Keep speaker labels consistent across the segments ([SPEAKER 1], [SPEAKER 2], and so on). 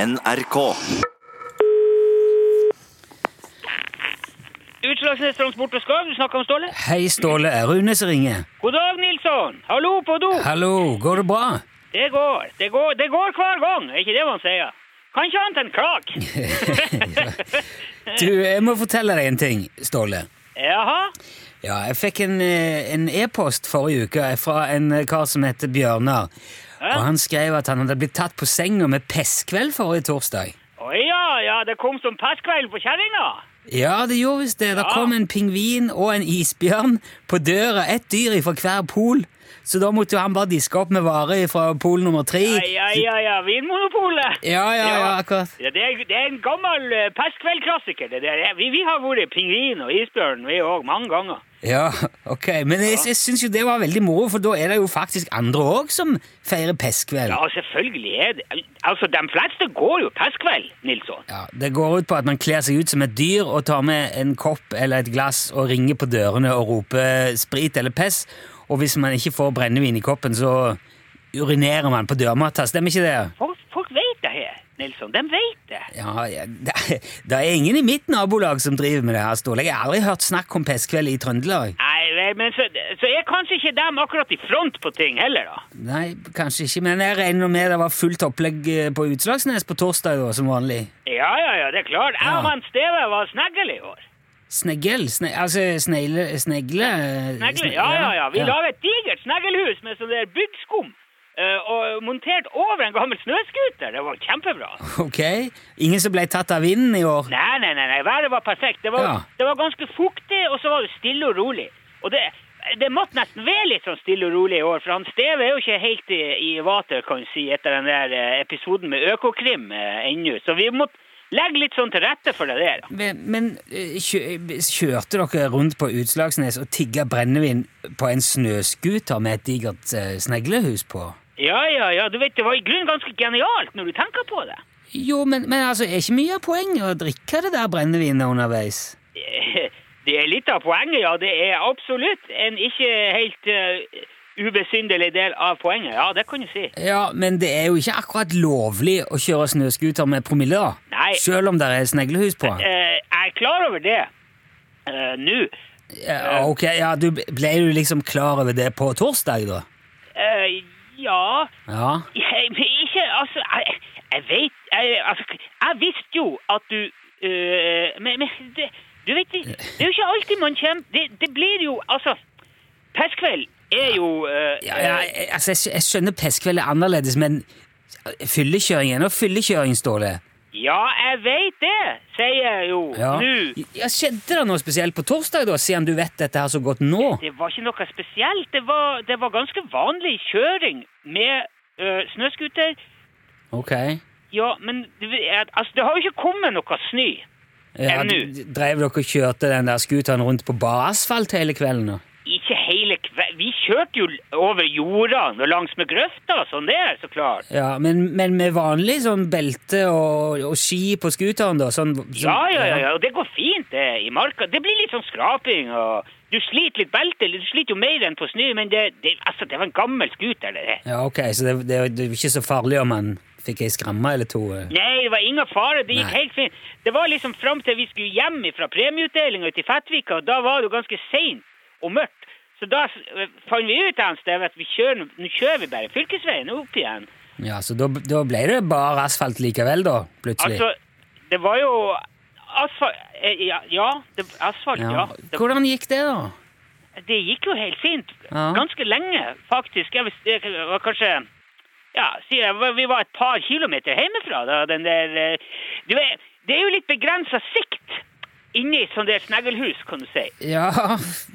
[SPEAKER 1] NRK.
[SPEAKER 2] Utslagsnes Transport og Skav, du snakker om Ståle.
[SPEAKER 3] Hei, Ståle. Er Rune som ringer?
[SPEAKER 2] God dag, Nilsson. Hallo på do.
[SPEAKER 3] Hallo, går det bra?
[SPEAKER 2] Det går. Det går, det går hver gang, er ikke det man sier? Kan ikke annet enn klag.
[SPEAKER 3] Du, jeg må fortelle deg en ting, Ståle.
[SPEAKER 2] Jaha?
[SPEAKER 3] Ja, jeg fikk en eh, en e-post forrige uke fra en eh, kar som heter Bjørnar. Og han skrev at han hadde blitt tatt på senga med pestkveld forrige torsdag.
[SPEAKER 2] Å ja, ja, det kom som pestkveld på kjerringa.
[SPEAKER 3] Ja, det gjorde visst det. Det
[SPEAKER 2] Ja.
[SPEAKER 3] kom en pingvin og en isbjørn på døra. Ett dyr fra hver pol. Så da måtte jo han bare diske opp med varer fra pol nummer tre.
[SPEAKER 2] Ja, ja, ja, ja, Vinmonopolet.
[SPEAKER 3] Ja, ja, ja, akkurat.
[SPEAKER 2] Ja, det, er, det er en gammel eh, pestkveldklassiker. det der. Vi, vi har vært pingvin og isbjørn, vi òg, mange ganger.
[SPEAKER 3] Ja, ok. Men jeg, jeg syns jo det var veldig moro, for da er det jo faktisk andre òg som feirer pestkveld.
[SPEAKER 2] Ja, selvfølgelig er det Altså, de fleste går jo pestkveld, Nilsson.
[SPEAKER 3] Ja, det går ut på at man kler seg ut som et dyr og tar med en kopp eller et glass og ringer på dørene og roper sprit eller pess, og hvis man ikke får brennevin i koppen, så urinerer man på dørmatta. Stemmer ikke det?
[SPEAKER 2] Folk, folk vet det her, Nilsson. De vet det.
[SPEAKER 3] Ja, ja det, det er ingen i mitt nabolag som driver med det her, Ståle. Jeg har aldri hørt snakk om pestkveld i Trøndelag.
[SPEAKER 2] Nei, vel, men så, så er kanskje ikke dem akkurat i front på ting heller, da.
[SPEAKER 3] Nei, kanskje ikke, men jeg regner med det var fullt opplegg eh, på Utslagsnes på torsdag, da, som vanlig.
[SPEAKER 2] Ja, ja, ja, det er klart. Jeg
[SPEAKER 3] Ja.
[SPEAKER 2] og han Steve var snegle i år.
[SPEAKER 3] Snegl? Sne, altså snegle, snegle eh,
[SPEAKER 2] Snegle, ja, ja, ja. Vi laget et digert sneglehus med sånn der byggskum. eh, og montert over en gammel snøskuter. Det var kjempebra.
[SPEAKER 3] Ok. Ingen som ble tatt av vinden i år?
[SPEAKER 2] Nei, nei, nei, nei. været var perfekt. Det var,
[SPEAKER 3] Ja.
[SPEAKER 2] det var ganske fuktig, og så var det stille og rolig. Og det, det måtte nesten være litt sånn stille og rolig i år, for han Steve er jo ikke helt i, i vater, kan du si, etter den der eh, episoden med Økokrim eh, ennå. Så vi måtte legge litt sånn til rette for det der. da.
[SPEAKER 3] Men, men eh, kjø, kjørte dere rundt på Utslagsnes og tigga brennevin på en snøskuter med et digert eh, sneglehus på?
[SPEAKER 2] Ja, ja, ja, du vet, det var i grunnen ganske genialt når du tenker på det.
[SPEAKER 3] Jo, men, men altså, er ikke mye av poenget å drikke det der brennevinet underveis?
[SPEAKER 2] Eh, Det er litt av poenget, ja. Det er absolutt en ikke helt eh, ubesyndelig del av poenget. Ja, det kan du si.
[SPEAKER 3] Ja, men det er jo ikke akkurat lovlig å kjøre snøskuter med promille, da.
[SPEAKER 2] Nei.
[SPEAKER 3] Selv om det er sneglehus på?
[SPEAKER 2] Eh, jeg er klar over det eh, nå.
[SPEAKER 3] Ja, ok, ja, du Ble du liksom klar over det på torsdag, da?
[SPEAKER 2] Eh, ja
[SPEAKER 3] Ja.
[SPEAKER 2] jeg, men Ikke Altså, jeg, jeg vet jeg, altså, jeg visste jo at du eh, Men, men det, du vet, det, det er jo ikke alltid man kommer Det, det blir jo Altså, pestkveld er jo eh,
[SPEAKER 3] Ja, ja, jeg- altså, jeg, skj- jeg skjønner pestkveld er annerledes, men fyllekjøring er nå fyllekjøring, Ståle.
[SPEAKER 2] eh, ja, jeg vet det, sier jeg jo
[SPEAKER 3] Ja.
[SPEAKER 2] nå.
[SPEAKER 3] Ja, skjedde det noe spesielt på torsdag, da, siden du vet dette her så godt nå?
[SPEAKER 2] Det var ikke noe spesielt. Det var, det var ganske vanlig kjøring med eh, snøskuter.
[SPEAKER 3] Ok.
[SPEAKER 2] Ja, men du vet, altså, det har jo ikke kommet noe snø.
[SPEAKER 3] Ja,
[SPEAKER 2] Enn
[SPEAKER 3] d- drev dere og kjørte den der scooteren rundt på bar asfalt hele kvelden? da?
[SPEAKER 2] Ikke hele kvelden. Vi kjørte jo over jordene og langs med grøfta og sånn der, så klart.
[SPEAKER 3] Ja, men, men med vanlig sånn belte og, og ski på scooteren, da? Sånn, sånn,
[SPEAKER 2] Ja, ja, ja, ja, og det går fint det, i marka. Det blir litt sånn skraping og Du sliter litt belte, du sliter jo mer enn på snø, men det, det, altså, det var en gammel skuter, det der.
[SPEAKER 3] Ja, ok, så det, det, det er ikke så farlig om man fikk ei skramme eller to? eh.
[SPEAKER 2] Nei, det var ingen fare. Det gikk
[SPEAKER 3] Nei.
[SPEAKER 2] helt fint. Det var liksom fram til vi skulle hjem fra premieutdelinga til Fettvika, og da var det jo ganske seint og mørkt. Så da eh, fant vi ut en sted at vi kjører, nå kjører vi bare fylkesveien opp igjen.
[SPEAKER 3] Ja, Så da, da ble det bar asfalt likevel, da? Plutselig?
[SPEAKER 2] Altså, det var jo asfalt eh, Ja, ja det, asfalt, ja.
[SPEAKER 3] Ja.
[SPEAKER 2] Det,
[SPEAKER 3] Hvordan gikk det, da?
[SPEAKER 2] det gikk jo helt fint.
[SPEAKER 3] Ja.
[SPEAKER 2] Ganske lenge, faktisk. Jeg, vis- jeg var kanskje Ja, sier jeg, vi var et par kilometer hjemmefra da den der eh, Du vet, det er jo litt begrensa sikt inni sånn der sneglehus, kan du si.
[SPEAKER 3] Ja,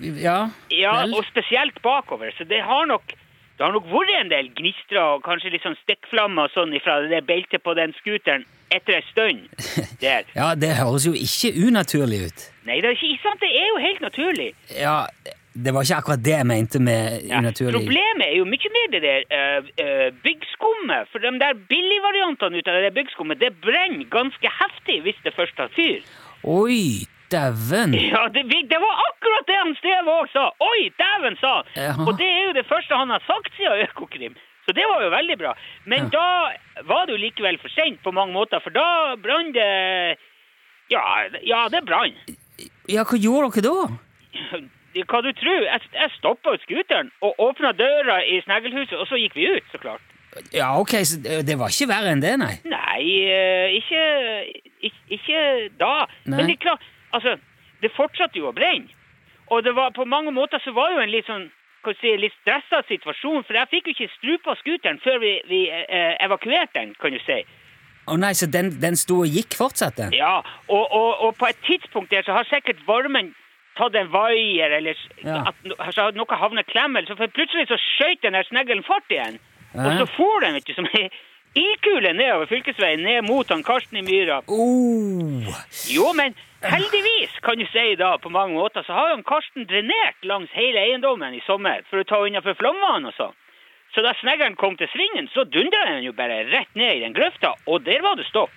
[SPEAKER 3] ja,
[SPEAKER 2] Ja,
[SPEAKER 3] vel.
[SPEAKER 2] og spesielt bakover. Så det har nok det har nok vært en del gnistre og kanskje litt sånn stikkflammer og sånn ifra det der beltet på den scooteren etter ei stund. Der.
[SPEAKER 3] ja, det høres jo ikke unaturlig ut.
[SPEAKER 2] Nei, det er ikke ikke sant. Det er jo helt naturlig.
[SPEAKER 3] Ja, det var ikke akkurat det jeg mente med
[SPEAKER 2] Ja,
[SPEAKER 3] unaturlig.
[SPEAKER 2] Problemet er jo mye mer det der eh, eh, byggskummet. For de der billigvariantene ut av det der byggskummet, det brenner ganske heftig hvis det først tar fyr.
[SPEAKER 3] Oi, dæven.
[SPEAKER 2] Ja, det, vi- det var akkurat det han Steve òg sa! Oi, dæven, sa han!
[SPEAKER 3] Jaha.
[SPEAKER 2] Og det er jo det første han har sagt siden Økokrim. Så Så det var jo veldig bra. Men da var det jo likevel for sent på mange måter, for da brann det Ja, ja det brann.
[SPEAKER 3] Ja, hva gjorde dere da?
[SPEAKER 2] Hva du tror? Jeg, jeg stoppa scooteren og åpna døra i sneglhuset, og så gikk vi ut, så klart.
[SPEAKER 3] Ja, ok, så det det var ikke verre enn det, nei.
[SPEAKER 2] Nei, eh, ikke, ikke, ikke da.
[SPEAKER 3] Nei.
[SPEAKER 2] Men det er klart, altså, det fortsatte jo å brenne. Og det var, på mange måter så var det jo en litt sånn, hva skal jeg si, litt stresset situasjon, for jeg fikk jo ikke strupa skuteren før vi, vi eh, evakuerte den, kan du si.
[SPEAKER 3] Å nei, så den, den sto og gikk fortsatt, den?
[SPEAKER 2] Ja, og, og, og på et tidspunkt der så har sikkert varmen tatt en vaier, eller s-
[SPEAKER 3] Ja.
[SPEAKER 2] at no- altså, at noe havnet klem, eller så for plutselig så skjøt den der sneglen fart igjen.
[SPEAKER 3] Ja.
[SPEAKER 2] Og så for den, vet du, som ei ikule nedover fylkesveien, ned mot han Karsten i myra.
[SPEAKER 3] Oh.
[SPEAKER 2] Jo, men heldigvis, kan du si da, på mange måter, så har jo han Karsten drenert langs hele eiendommen i sommer for å ta unna for flomvann og sånn. Så da sneggeren kom til svingen, så dundra den jo bare rett ned i den grøfta, og der var det stopp.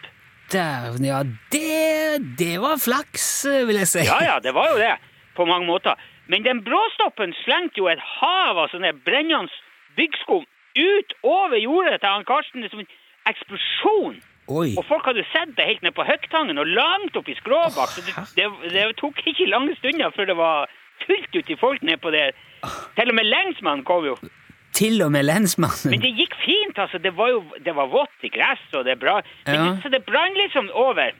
[SPEAKER 3] Dæven, ja, det, det var flaks, eh, vil jeg si.
[SPEAKER 2] Ja, ja, det var jo det, på mange måter. Men den bråstoppen slengte jo et hav av sånne brennende byggskum ut over jordet til han Karsten som en eksplosjon.
[SPEAKER 3] Oi.
[SPEAKER 2] Og folk hadde jo sett det helt ned på Høgtangen og langt opp i Skråbakk. Så det, det, det tok ikke lange stunder før det var fullt ut i folk ned på det. Til og med lensmannen kom jo.
[SPEAKER 3] Til og med
[SPEAKER 2] Men
[SPEAKER 3] lensmannen.
[SPEAKER 2] det gikk fint, altså. Det var jo det var vått i gresset, og det bra. Men
[SPEAKER 3] Ja.
[SPEAKER 2] det, så det brann liksom over.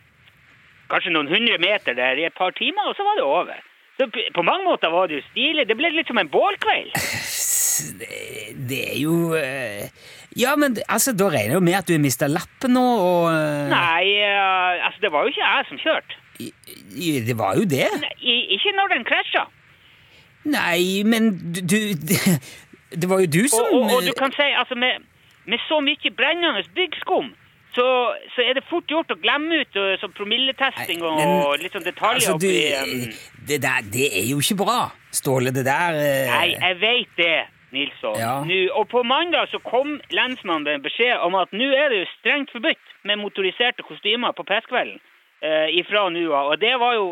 [SPEAKER 2] Kanskje noen hundre meter der i et par timer, og så var det over. Så p- på mange måter var det jo stilig. Det ble litt som en bålkveld.
[SPEAKER 3] Det, det er jo eh, Ja, men altså, da regner jeg jo med at du har mista lappen nå, og eh,
[SPEAKER 2] Nei, eh, altså det var jo ikke jeg som kjørte.
[SPEAKER 3] i- i- Det var jo det.
[SPEAKER 2] Nei, i- ikke når den krasja.
[SPEAKER 3] Nei, men du, du det, det var jo du som
[SPEAKER 2] Og, og, og
[SPEAKER 3] eh,
[SPEAKER 2] du kan si, altså med, med så mye brennende byggskum, så, så er det fort gjort å glemme ut og, sånn promilletesting og,
[SPEAKER 3] men-
[SPEAKER 2] og litt sånn detaljer
[SPEAKER 3] altså, du,
[SPEAKER 2] oppi eh, em,
[SPEAKER 3] det, der, det er jo ikke bra, Ståle, det der eh,
[SPEAKER 2] Nei, jeg vet det, Nilsson.
[SPEAKER 3] Ja.
[SPEAKER 2] Nå, og på mandag så kom lensmannen med en beskjed om at nå er det jo strengt forbudt med motoriserte kostymer på festkvelden eh, ifra nå av. Og det var jo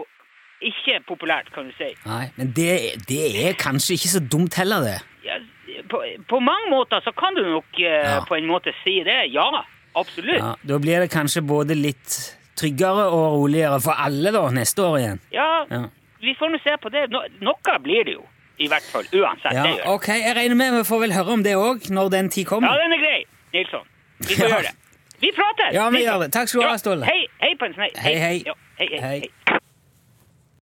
[SPEAKER 2] ikke populært, kan du si.
[SPEAKER 3] Nei, men det, det er kanskje ikke så dumt heller, det.
[SPEAKER 2] Ja, på, på mange måter så kan du nok eh,
[SPEAKER 3] Ja.
[SPEAKER 2] på en måte si det. Ja, absolutt.
[SPEAKER 3] Ja, da blir det kanskje både litt tryggere og roligere for alle da, neste år igjen.
[SPEAKER 2] Ja,
[SPEAKER 3] Ja.
[SPEAKER 2] vi får nå se på det. No, noe blir det jo. I hvert fall. Uansett.
[SPEAKER 3] Ja,
[SPEAKER 2] det gjør. det.
[SPEAKER 3] ok, jeg regner med vi får vel høre om det òg, når den tid
[SPEAKER 2] Ja,
[SPEAKER 3] kommer.
[SPEAKER 2] den er grei, Nilsson. Vi
[SPEAKER 3] Ja.
[SPEAKER 2] får gjøre det. Vi prater!
[SPEAKER 3] Ja, vi
[SPEAKER 2] Nilsson.
[SPEAKER 3] gjør det. Takk skal du ha,
[SPEAKER 2] Ja,
[SPEAKER 3] Ståle.
[SPEAKER 2] Hei, hei på en snei.
[SPEAKER 3] Hei, hei.
[SPEAKER 2] Ja, hei, hei,
[SPEAKER 3] Hei.
[SPEAKER 2] hei.